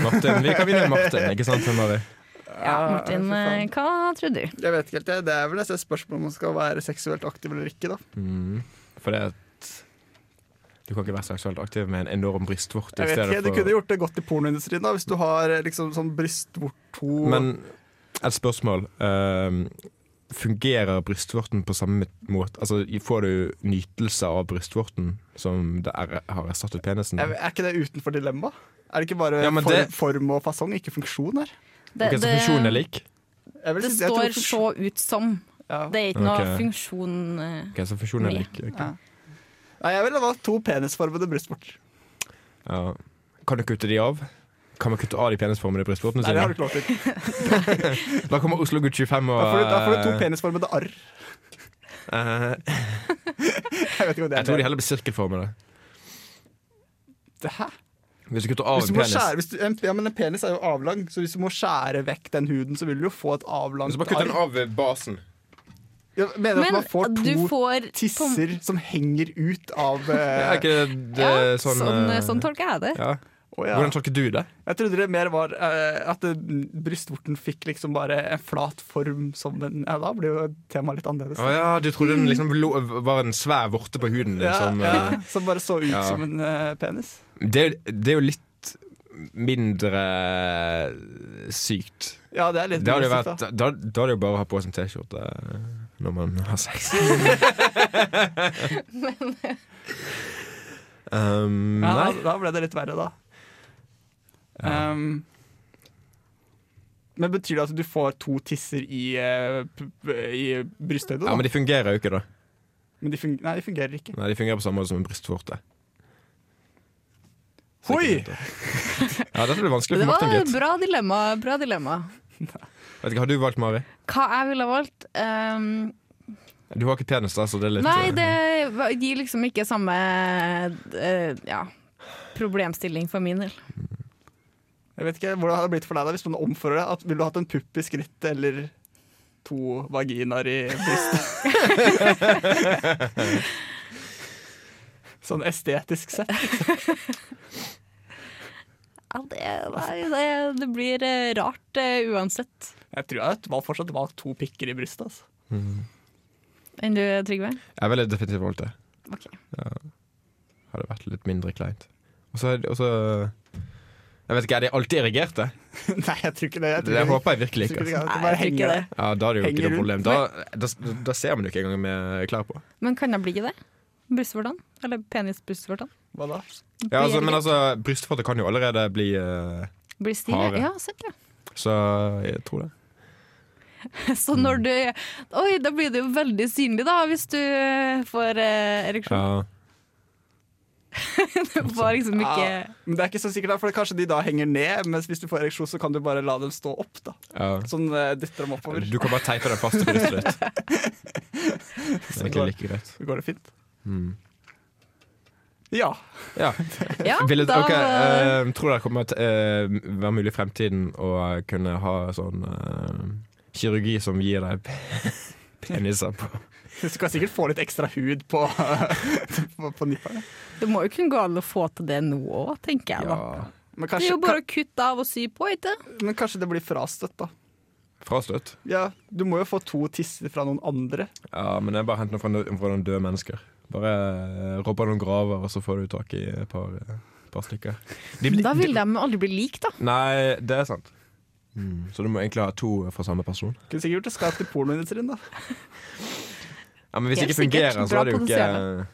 S1: Martin, Vi kan vinne Martin, ikke sant, Mari?
S4: Ja, Martin, eh, hva tror du?
S2: Jeg vet ikke helt, jeg. Det er vel et spørsmål om man skal være seksuelt aktiv eller ikke, da.
S1: For det at du kan ikke være seksuelt aktiv med en enorm brystvorte. i
S2: Jeg vet
S1: stedet
S2: ikke, Du
S1: for-
S2: kunne gjort det godt i pornoindustrien da hvis du har eh, liksom sånn brystvorto
S1: Men et spørsmål. ehm, fungerer brystvorten på samme måte? Altså, får du nytelse av brystvorten som det er, har erstattet penisen?
S2: Er er ikke det utenfor dilemma? Er det ikke bare
S1: Ja, men
S2: form,
S1: det-
S2: form og fasong, ikke funksjon her?
S4: Det,
S1: Ok, så
S4: det-
S1: funksjonen er lik?
S2: Jeg vil
S4: det
S2: si- jeg tror
S4: står
S2: funksjon-
S4: 'så ut som'.
S2: ja.
S4: Det er ikke noe
S1: Ok.
S4: funksjon eh,
S1: Ok, så funksjonen er
S4: Med.
S1: lik. ok.
S2: Nei, jeg ville valgt to penisformede brystvorter.
S1: Ja. Kan du kutte de av? Kan man kutte av de penisformede brystvortene
S2: Nei, det har du
S1: sine?
S2: ikke lov til.
S1: Da kommer Oslo Gutt 25 og
S2: Da får du, da får du to penisformede arr.
S1: eh,
S2: Jeg vet ikke om det
S1: Jeg
S2: er
S1: tror de
S2: det.
S1: heller blir sirkelformede.
S2: Hæ?
S1: Hvis du kutter av
S2: Hvis
S1: en
S2: du må
S1: penis
S2: skjære, hvis du, en- ja, men en penis er jo avlang, så hvis du må skjære vekk den huden, så vil du jo få et avlangt
S1: Så bare kutt den
S2: arr.
S1: av ved basen.
S2: Ja, mener du at
S4: Men
S2: man får
S4: du
S2: to
S4: får på-
S2: tisser som henger ut av
S1: Er
S2: eh,
S1: ikke det
S4: Ja,
S1: sånn,
S4: sånn, sånn,
S1: eh,
S4: tolker jeg det.
S1: ja.
S2: å ja.
S1: Hvordan tolker du det?
S2: Jeg trodde det mer var eh, at eh, brystvorten fikk liksom bare en flat form som en Ja, da blir jo temaet litt annerledes.
S1: Å ja, du trodde den liksom lå, var en svær vorte på huden din
S2: Mm. Ja,
S1: som eh,
S2: ja, som bare så ut
S1: ja.
S2: som en eh, penis.
S1: det, er- det er jo litt mindre sykt.
S2: Ja, det er litt
S1: Det hadde jo
S2: mystisk,
S1: vært, eh, da, da hadde jeg jo bare å ha på som T-skjorte eh, når man har sex.
S4: eh.
S1: um, nei.
S2: da. Ja, altså. da, da ble det litt verre, da. Um, men betyr det at du får to tisser i, eh, p- p- i brysthøyde, da?
S1: Ja, men de fungerer jo ikke, da.
S2: Men de fung- nei, de fungerer ikke.
S1: Nei, De fungerer på samme måte som en brystvorte. Så
S2: Hoi!
S1: ikke helt- Ja, dette blir vanskelig
S4: Det
S1: for
S4: var
S1: Martin,
S4: et
S1: gitt.
S4: bra dilemma. Bra dilemma.
S1: Vet ikke, Har du valgt Mari?
S4: Hva jeg ville valgt? ehm,
S1: Du har ikke pianister, så det er litt
S4: Nei,
S1: eh,
S4: det var- gir liksom ikke samme eh, ja, problemstilling for min del.
S2: Jeg vet ikke hvordan det hadde blitt for deg da hvis man omfører det. At, ville du hatt en pupp i skrittet eller to vaginaer i brystet? sånn estetisk sett.
S4: Ja, det, nei, det, det blir eh, rart eh, uansett.
S2: Jeg tror jeg hadde valgt- fortsatt valgt to pikker i brystet. Altså.
S1: eh, mm.
S4: Enn du, Trygve?
S1: Jeg ville definitivt valgt det.
S4: Ok.
S1: Hadde vært litt mindre kleint. Og så og så- Jeg vet ikke, er de alltid erigerte?
S2: Nei, jeg tror ikke det. Jeg tror
S1: Det
S2: ikke-
S1: håper jeg virkelig
S2: tror
S1: ikke. altså.
S2: det.
S4: Nei,
S2: Det bare
S4: jeg tror ikke
S2: henger
S4: det.
S2: der.
S1: Ja, Da er det jo ikke
S2: Henger
S1: noe problem.
S2: rundt.
S1: Da, da, da ser man jo ikke engang med klær på.
S4: Men kan det bli det? Brystvortene? Eller penisbrystvortene?
S2: Hva da?
S1: Ja, altså, men altså, brystfortet kan jo allerede bli eh, Hare.
S4: Blir stive? Ja, sant det.
S1: Så jeg tror det.
S4: Så når du Oi, da blir det jo veldig synlig, da, hvis du eh, får eh, ereksjon.
S1: Ja.
S4: Du får liksom ikke
S2: Ja, men det er ikke så sikkert, da, for kanskje de da henger ned, mens hvis du får ereksjon, så kan du bare la dem stå opp. da.
S1: Ja.
S2: Sånn eh, dytter dem oppover.
S1: Du kan bare teipe den fast til brystet ditt. Det er egentlig like greit.
S2: Så går det fint.
S1: Mm.
S2: Ja.
S1: Ja.
S4: Ja,
S1: Ville,
S4: da
S1: Ah. ok,
S4: var-
S1: eh, tror dere kommer til eh, være mulig i fremtiden å kunne ha sånn eh, kirurgi som gir deg pe- peniser på
S2: Du kan sikkert få litt ekstra hud på, på, på nipperne.
S4: Det må jo kunne gå an å få til det nå òg, tenker jeg. da.
S1: ja,
S2: Men
S4: Det er
S2: kanskje,
S4: jo bare å kutte av og sy på, ikke
S2: ka- men kanskje det blir frastøtt, da.
S1: frastøtt?
S2: Ja, Du må jo få to tisser fra noen andre.
S1: Ja, men jeg bare henter noe fra, no- fra noen døde mennesker. Bare eh, robber noen graver, og så får du tak i et par, eh, par stykker. De blir-
S4: Da vil de aldri bli lik, da.
S1: Nei, det er sant. Så du må egentlig ha to fra samme person.
S2: Kunne sikkert gjort det skap til pornoindustrien, da.
S1: Ja, Men hvis det
S4: Helt
S1: ikke fungerer,
S4: sikkert.
S1: så er
S4: Bra
S1: det jo ikke
S4: produserende.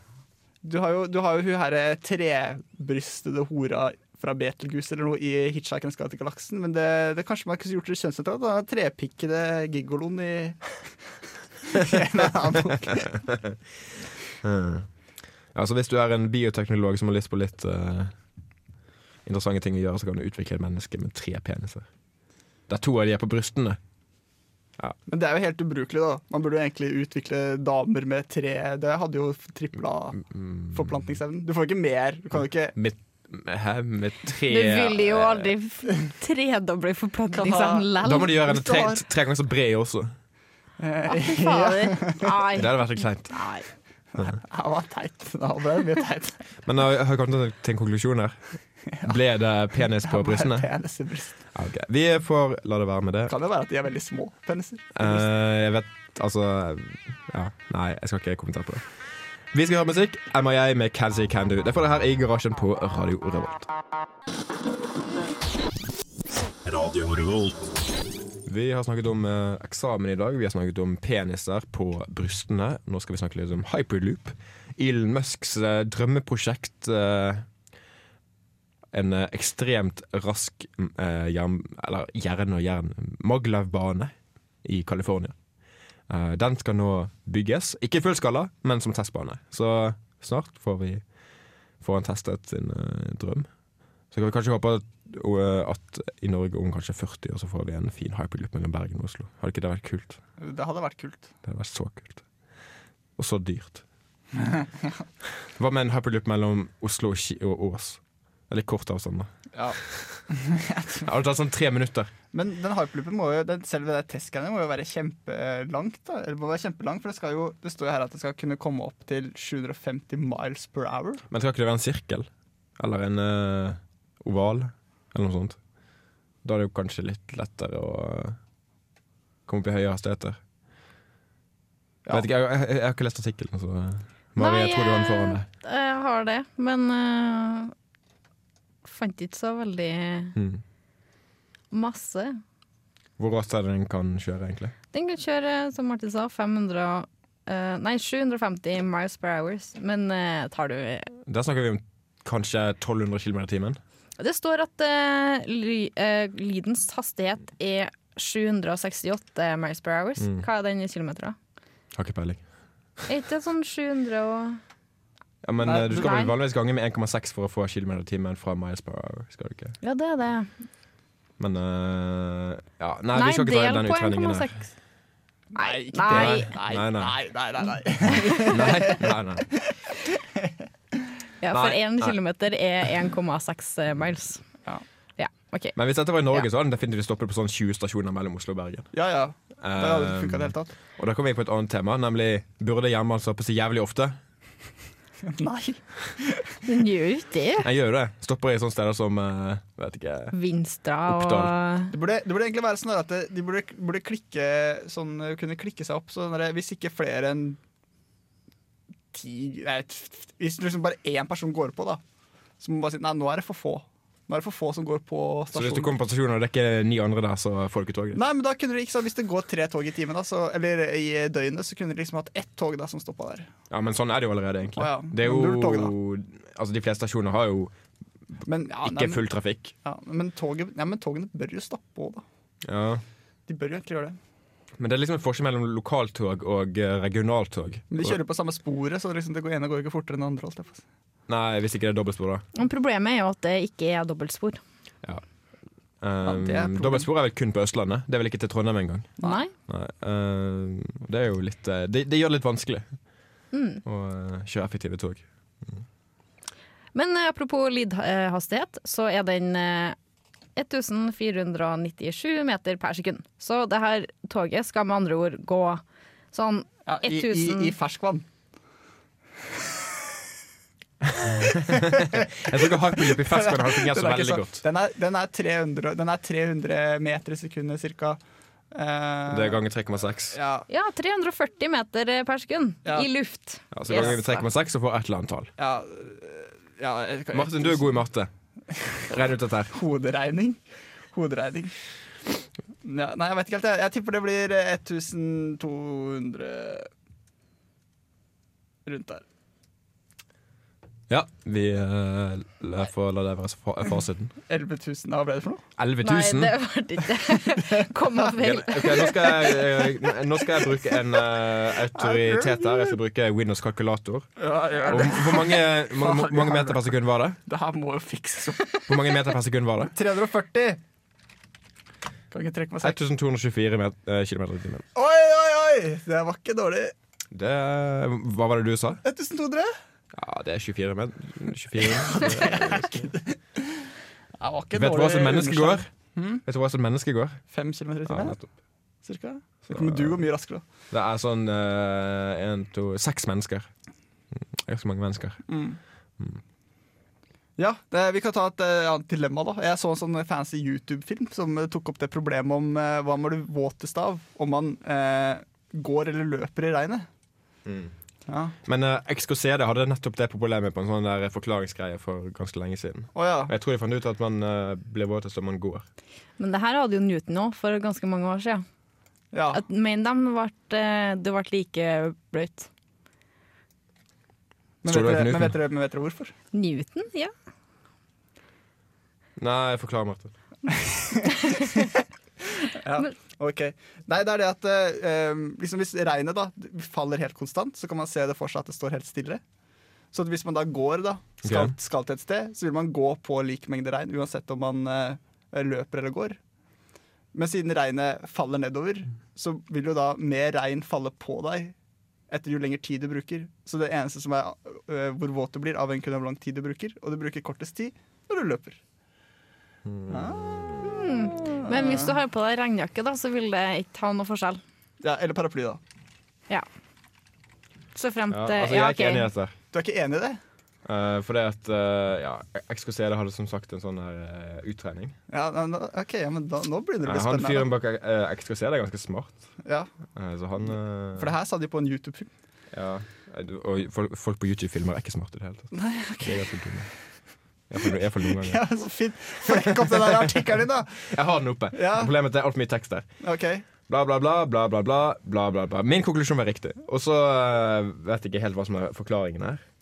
S2: Du har jo, du har jo hun herre trebrystede hora fra Betelgus eller noe i 'Hitchhikerens guide til galaksen', men det, det kanskje man kunne gjort det kjønnssentralt. da. Trepikkede gigoloen i i en annen bok.
S1: Altså Hvis du er en bioteknolog som har lyst på litt eh, interessante ting å gjøre, så kan du utvikle et menneske med tre peniser. Der to av de er på brystene.
S2: Men det er jo helt ubrukelig, da. Man burde jo egentlig utvikle damer med tre Det hadde jo tripla
S1: Mm,
S2: forplantningsevnen. Du får ikke mer. Du kan jo ikke
S1: Med, hæ? Med tre
S4: Du vil jo aldri f- tredoble forplantningsevnen
S1: Da må
S4: lell.
S1: de gjøre en
S2: Hvis du
S1: tre,
S2: har-
S1: tre ganger så bred også.
S4: Ja, fy fader.
S1: Det
S4: Nei.
S1: hadde vært litt kleint.
S4: Nei.
S2: Ja, det var teit. Ja, det var mye teit.
S1: Men jeg har kommet til en konklusjon her. Ble det penis på brystene?
S2: Penis i bryst.
S1: Ja, ok. Vi får la det være med det.
S2: Kan jo være at de er veldig små peniser.
S1: Eh, jeg vet Altså ja, Nei, jeg skal ikke kommentere på det. Vi skal høre musikk. MIA med Can See Can Do. Det får det her i garasjen på Radio Revolt.
S5: Radio Revolt.
S1: Vi har snakket om eh, eksamen i dag. Vi har snakket om peniser på brystene. Nå skal vi snakke litt om hyperloop. Elon Musks eh, drømmeprosjekt. eh, en eh, ekstremt rask eh, jern, eller jern og jern Maglev-bane i California. Eh, den skal nå bygges. Ikke i fullskala, men som testbane. Så snart får vi får han testet sin eh, drøm. Så kan vi kanskje håpe at, og, eh, at i Norge om kanskje 40 år så får vi en fin hyperloop mellom Bergen og Oslo. Hadde ikke det vært kult?
S2: Det hadde vært kult.
S1: Det hadde vært så kult. Og så dyrt. Hva med en hyperloop mellom Oslo og, Ski og Ås? Det er litt kort avstand, da.
S2: Ja.
S1: Det hadde tatt sånn tre minutter.
S2: Men den hyperloopen må jo, den, selve det testskannet må jo være kjempelangt. da. Eller må være kjempelangt, for det, skal jo, det står jo her at det skal kunne komme opp til 750 miles per hour.
S1: Men skal ikke det være en sirkel? Eller en eh, oval? Eller noe sånt? Da er det jo kanskje litt lettere å eh, komme opp i høye hastigheter. Jeg,
S2: Ja.
S1: vet ikke, jeg, jeg, jeg har ikke lest artikkelen, så eh, Marie, jeg tror du har den foran deg.
S4: eh, jeg har det, men eh, fant ikke så veldig
S1: Mm.
S4: masse.
S1: Hvor raskt er det den kan kjøre, egentlig?
S4: Den kan kjøre, som Martin sa, 500 eh, Nei, 750 miles per hours, men eh, tar du
S1: Der snakker vi om kanskje 1200 km i timen.
S4: Det står at eh, ly, eh, lydens hastighet er 768 miles per hours.
S1: Mm.
S4: Hva er den i kilometer? da?
S1: Har ikke peiling.
S4: Er ikke det sånn 700 og
S1: Ja, men
S2: Nei,
S1: eh, du skal vel
S4: nei.
S1: vanligvis gange med 1,6 for å få kilometer i timen fra miles per hour. Skal du ikke?
S4: Ja, det er det.
S1: Men eh, ja, nei,
S4: Nei,
S1: vi skal ikke ta
S4: del
S1: den
S4: på
S1: utregningen her.
S4: 1,6. Nei,
S2: ikke
S4: nei.
S2: det. Nei,
S1: Nei, nei.
S2: nei, nei, nei, nei.
S1: Nei, nei, nei.
S4: Ja, for
S1: Nei,
S4: én
S1: nei.
S4: kilometer er 1,6 eh, miles.
S2: Ja.
S4: Ja, OK.
S1: Men hvis dette var i Norge,
S4: Ja.
S1: så hadde den definitivt stoppet på sånn 20 stasjoner mellom Oslo og Bergen.
S2: Ja, ja. Det hadde ikke
S1: Um,
S2: funka i det hele tatt.
S1: Og da kom vi inn på et annet tema, nemlig burde hjemme altså på så jævlig ofte.
S2: Nei.
S4: Den gjør jo ikke det.
S1: Jeg gjør jo det. Stopper i sånne steder som eh, vet ikke
S4: Vinstra og
S1: Oppdal.
S2: Det burde, det burde egentlig være sånn der at det- de burde, burde klikke, sånn, kunne klikke seg opp sånn der, hvis ikke flere enn ti nei, t- t- Hvis liksom bare én person går på, da, så må man bare si nei, nå er det for få. Nå er det for få som går på
S1: Så hvis du
S2: stasjonen.
S1: kommer på stasjonen og det er ikke ni andre der, så får du ikke toget.
S2: Nei, men da kunne du, ikke sant, Hvis det går tre tog i timen, da, så, eller i døgnet, så kunne du liksom hatt ett tog da, som stoppa der.
S1: Ja, men sånn er det jo allerede, egentlig.
S2: Å ja,
S1: Det er
S2: men nulltog,
S1: jo Altså, de fleste stasjoner har jo
S2: Men, ja, nei,
S1: ikke
S2: men,
S1: full trafikk.
S2: ja, men, toget, ja, men togene bør jo stoppe òg, da.
S1: Ja.
S2: De bør jo egentlig gjøre det.
S1: Men det er liksom en forskjell mellom lokaltog og eh, regionaltog.
S2: Men de kjører på samme sporet, så liksom det går ene går ikke fortere enn det andre. holdt jeg på å si.
S1: Nei, hvis ikke det er dobbeltspor, da.
S4: Men Problemet er jo at det ikke er dobbeltspor.
S1: Um,
S2: det er problem.
S1: dobbeltspor er vel kun på Østlandet. Det er vel ikke til Trondheim engang.
S4: Nei.
S1: Nei, eh, det er jo litt eh, det, det gjør det litt vanskelig å eh, kjøre effektive tog.
S4: Men eh, apropos lydhastighet, så er den eh, 1497 meter per sekund. Så det her toget skal med andre ord gå sånn
S2: Ja, i, i,
S4: 1000.
S2: I ferskvann.
S1: Jeg tror ikke hyperloop i ferskvann har fungert
S2: Den
S1: så
S2: er, ikke
S1: veldig
S2: så-
S1: godt.
S2: den, er, den, er 300, den er 300 meter i sekundet cirka. Eh,
S1: Det er ganger 3,6.
S2: ja,
S4: Ja, 340 meter eh, per sekund
S2: Ja.
S4: i luft.
S1: Ja, så Altså, ganger vi
S4: Yes.
S1: 3,6 og får et eller annet tall.
S2: ja, ja, jeg kan-
S1: Martin, du er god i matte. Regn ut dette her.
S2: Hoderegning. Hoderegning. Ja, nei, jeg vet ikke helt. Jeg, jeg tipper det blir eh, 1200 rundt der.
S1: Ja, vi eh, la- får la det være eh, fa- fasiten.
S2: 11 000, hva ble det for noe?
S1: 11
S4: Nei,
S1: 000.
S4: det var det ikke. Komma feil.
S1: Ok, nå, skal jeg, eh, nå skal jeg bruke en eh, autoritet her. Jeg skal bruke Windows kalkulator.
S2: Ja, ja,
S1: Og
S2: det,
S1: hvor mange, hvor mange, mange meter per sekund var det?
S2: det her må jo fikses opp.
S1: Hvor mange meter per sekund var det?
S2: 340! Kan ikke trekke meg selv.
S1: 1224 met- eh, kilometer i timen.
S2: Oi, oi, oi! Det var ikke dårlig.
S1: Det, hva var det du sa?
S2: 1200?
S1: Ja, det er 24 men 24.
S2: Det var ikke
S1: Vet du hva som menneske går?
S2: Hmm?
S1: Vet du hva som menneske går?
S2: Fem kilometer i
S1: Ja,
S2: timen,
S1: nettopp.
S2: cirka? Så kommer du gå mye raskere. da.
S1: Det er sånn eh, en, to, seks mennesker. Mm, Det er ganske mange mennesker.
S2: Ja, det, Vi kan ta et eh, annet dilemma. da Jeg så en sånn fancy YouTube-film som eh, tok opp det problemet om eh, hva man blir våtest av om man eh, går eller løper i regnet. Hmm. Ja.
S1: Men uh, XKCD hadde nettopp det problemet på en sånn der forklaringsgreie for ganske lenge siden.
S2: Å ja.
S1: Og jeg tror de fant ut at man eh, blir våtest om man går.
S4: Men det her hadde jo Newton òg for ganske mange år siden.
S2: ja.
S4: At men de ble, du ble like bløt.
S2: Men,
S1: Står det
S2: vet dere,
S1: ikke
S2: men,
S1: Newton?
S2: vet dere, men vet dere hvorfor?
S4: Newton, ja.
S1: Nei, forklar, Martin.
S2: Ok, Nei, det er det at eh, liksom hvis regnet da faller helt konstant, så kan man se det for seg at det står helt stille. Så at hvis man da går, da skal,
S1: Ok.
S2: skal til et sted, så vil man gå på lik mengde regn uansett om man eh, løper eller går. Men siden regnet faller nedover, så vil jo da mer regn falle på deg etter jo lengre tid du bruker. Så det eneste som er eh, hvor våt du blir, avhenger kun av hvor lang tid du bruker, og du bruker kortest tid når du løper.
S4: Men hvis du har på deg regnjakke, da, så vil det ikke ha noe forskjell.
S2: Ja, eller paraply, da.
S4: Ja. Så fremt
S1: Ja,
S4: ja,
S1: altså, jeg
S4: Mm, ja,
S1: er ikke enig i
S4: ok.
S1: dette.
S2: Du er ikke enig i det?
S1: Uh, for det at eh, ja, XKCD hadde som sagt en sånn her eh, utregning.
S2: Ja, nei, nå- ok, ja, men da, Nå begynner det å
S1: Eh,
S2: bli
S1: han fyren
S2: spennende.
S1: bak eh, XKCD er ganske smart.
S2: Ja,
S1: Eh, så han eh,
S2: for det her sa de på en YouTube-film.
S1: Ja, eh, du- og folk, folk på YouTube-filmer er ikke smarte i det hele tatt. Nei, okay. er ganske dumme. Iallfall iallfall noen ganger.
S2: Ja, så fint. Flekk opp den der artikkelen din, da!
S1: Jeg har den oppe.
S2: Ja.
S1: Problemet er at det er altfor mye tekst der.
S2: Ok,
S1: Bla, bla, bla, bla, bla, bla, bla, bla, bla. Min konklusjon var riktig. Og så eh, vet jeg ikke helt hva som er forklaringen her.
S2: ja,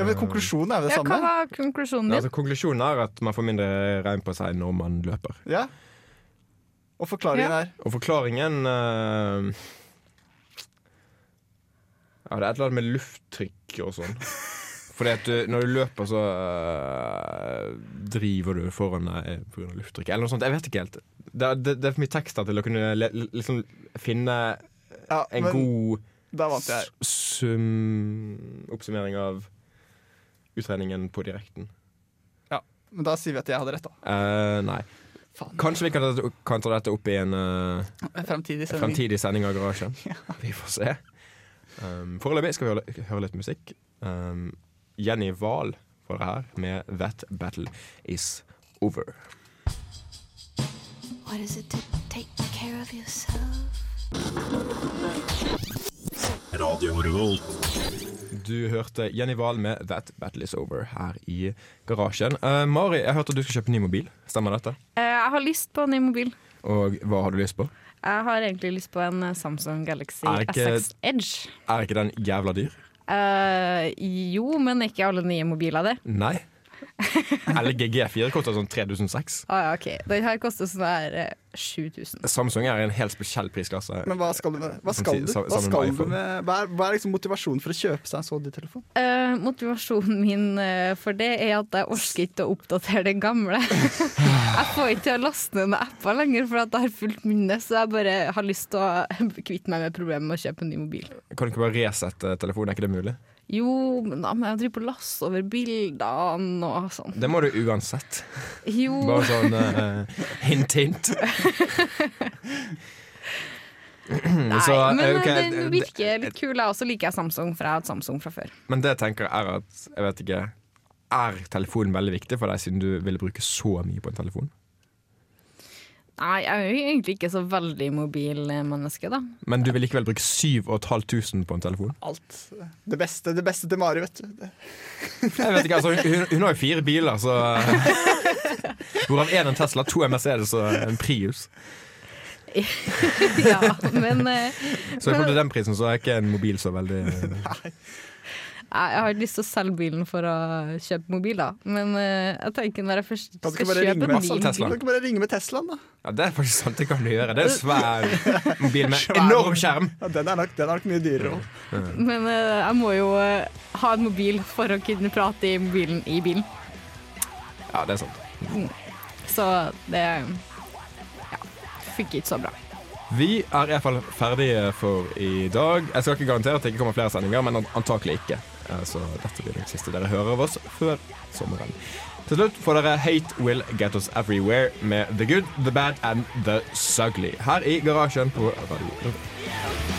S1: Eh,
S2: men Konklusjonen er jo det
S4: Ja, hva
S2: samme.
S4: var konklusjonen
S1: Nei,
S4: din?
S1: altså, konklusjonen er at man får mindre regn på seg når man løper.
S2: Ja. Og forklaringen
S4: Ja.
S2: er
S1: Og forklaringen eh, Ja, det er et eller annet med lufttrykk og sånn. Fordi at du, når du løper, så øh, driver du foran deg eh, pga. lufttrykk. Eller noe sånt. Jeg vet ikke helt. Det er, det, det er for mye tekster til å kunne le, liksom finne
S2: Ja,
S1: en
S2: men
S1: god
S2: Da vant jeg.
S1: s- sum oppsummering av utredningen på direkten.
S2: Men da sier vi at jeg hadde rett, da.
S1: Eh, nei.
S2: Faen.
S1: Kanskje vi kan, ta- kan ta dette opp i en eh,
S2: Fremtidig sending.
S1: fremtidig sending av Garasjen. Vi får se. Um, Foreløpig skal vi høre, høre litt musikk. Um, Jenny Wahl får det her med 'That Battle Is Over'.
S6: What is it to take care of yourself?
S5: Radio Revolt.
S1: Du hørte Jenny Wahl med 'That Battle Is Over' her i Garasjen. Uh, Mari, jeg hørte at du skal kjøpe ny mobil. Stemmer dette?
S4: Eh, Jeg har lyst på en ny mobil.
S1: Og hva har du lyst på?
S4: Jeg har egentlig lyst på en eh, Samsung Galaxy
S1: Er ikke-
S4: S6 Edge.
S1: Er ikke den jævla dyr?
S4: Eh, jo, men ikke alle nye mobiler det.
S1: Nei. LG G4 koster sånn 3006.
S4: Ah, ja, ok. Den her koster sånn der eh, 7000.
S1: Samsung er i en helt spesiell prisklasse.
S2: Men hva skal du med det? Hva skal du?
S1: Sa-
S2: Hva,
S1: sammen med
S2: skal du
S1: iPhone.
S2: med? hva er, hva er liksom motivasjonen for å kjøpe seg en så dyr telefon?
S4: Eh, motivasjonen min eh, for det er at jeg orker ikke å oppdatere den gamle. jeg får ikke til å laste ned noen apper lenger, for at jeg har fullt minne. Så jeg bare har lyst til å kvitte meg med problemet med å kjøpe en ny mobil.
S1: Kan du ikke bare resette eh, telefonen? Er ikke det mulig?
S4: Jo, men da må jeg drive på lass over bildene og sånn.
S1: Det må du uansett.
S4: Jo.
S1: Bare sånn eh, hint, hint.
S4: Nei,
S1: Så,
S4: men
S1: eh, ok,
S4: eh,
S1: det-
S4: den virker litt kul. Og så liker jeg Samsung, for jeg har hatt Samsung fra før.
S1: Men det jeg tenker er at Jeg vet ikke Er telefonen veldig viktig for deg, siden du ville bruke så mye på en telefon?
S4: Nei, jeg er jo egentlig ikke så veldig mobil eh, menneske, da.
S1: Men du vil likevel bruke 7500 på en telefon?
S2: Alt. Det beste, det beste til Mari, vet du. Det-
S1: Jeg vet ikke, altså Hun, hun har jo fire biler, så Hvorav én en Tesla, to er Mercedes og en Prius.
S4: ja, men eh,
S1: Så jeg den prisen så er ikke en mobil så veldig
S4: Nei, Jeg har ikke lyst til å selge bilen for å kjøpe mobil, da. Men eh, jeg tenker når jeg først
S2: Kan du ikke
S4: skal
S2: bare
S4: kjøpe
S2: ringe altså.
S4: en
S2: med
S1: Masse
S4: ny
S1: Tesla?
S2: Kan du ikke bare ringe med Teslaen, da?
S1: Ja, Det er faktisk sant, det kan du gjøre. Det er en svær mobil med
S2: Svær.
S1: enorm skjerm.
S2: Ja, den er nok, den er nok mye dyrere òg.
S4: Men eh, jeg må jo eh, ha en mobil for å kunne prate i mobilen i bilen.
S1: Ja, det er sant.
S4: Så det ja, funker ikke så bra.
S1: Vi er iallfall ferdige for i dag. Jeg skal ikke garantere at det ikke kommer flere sendinger, men an- antakelig ikke. Eh, Så dette blir den siste dere hører av oss før sommeren. Til slutt får dere Hate Will Get Us Everywhere med The Good, The Bad and The Sugly her i garasjen på Radio Revolt.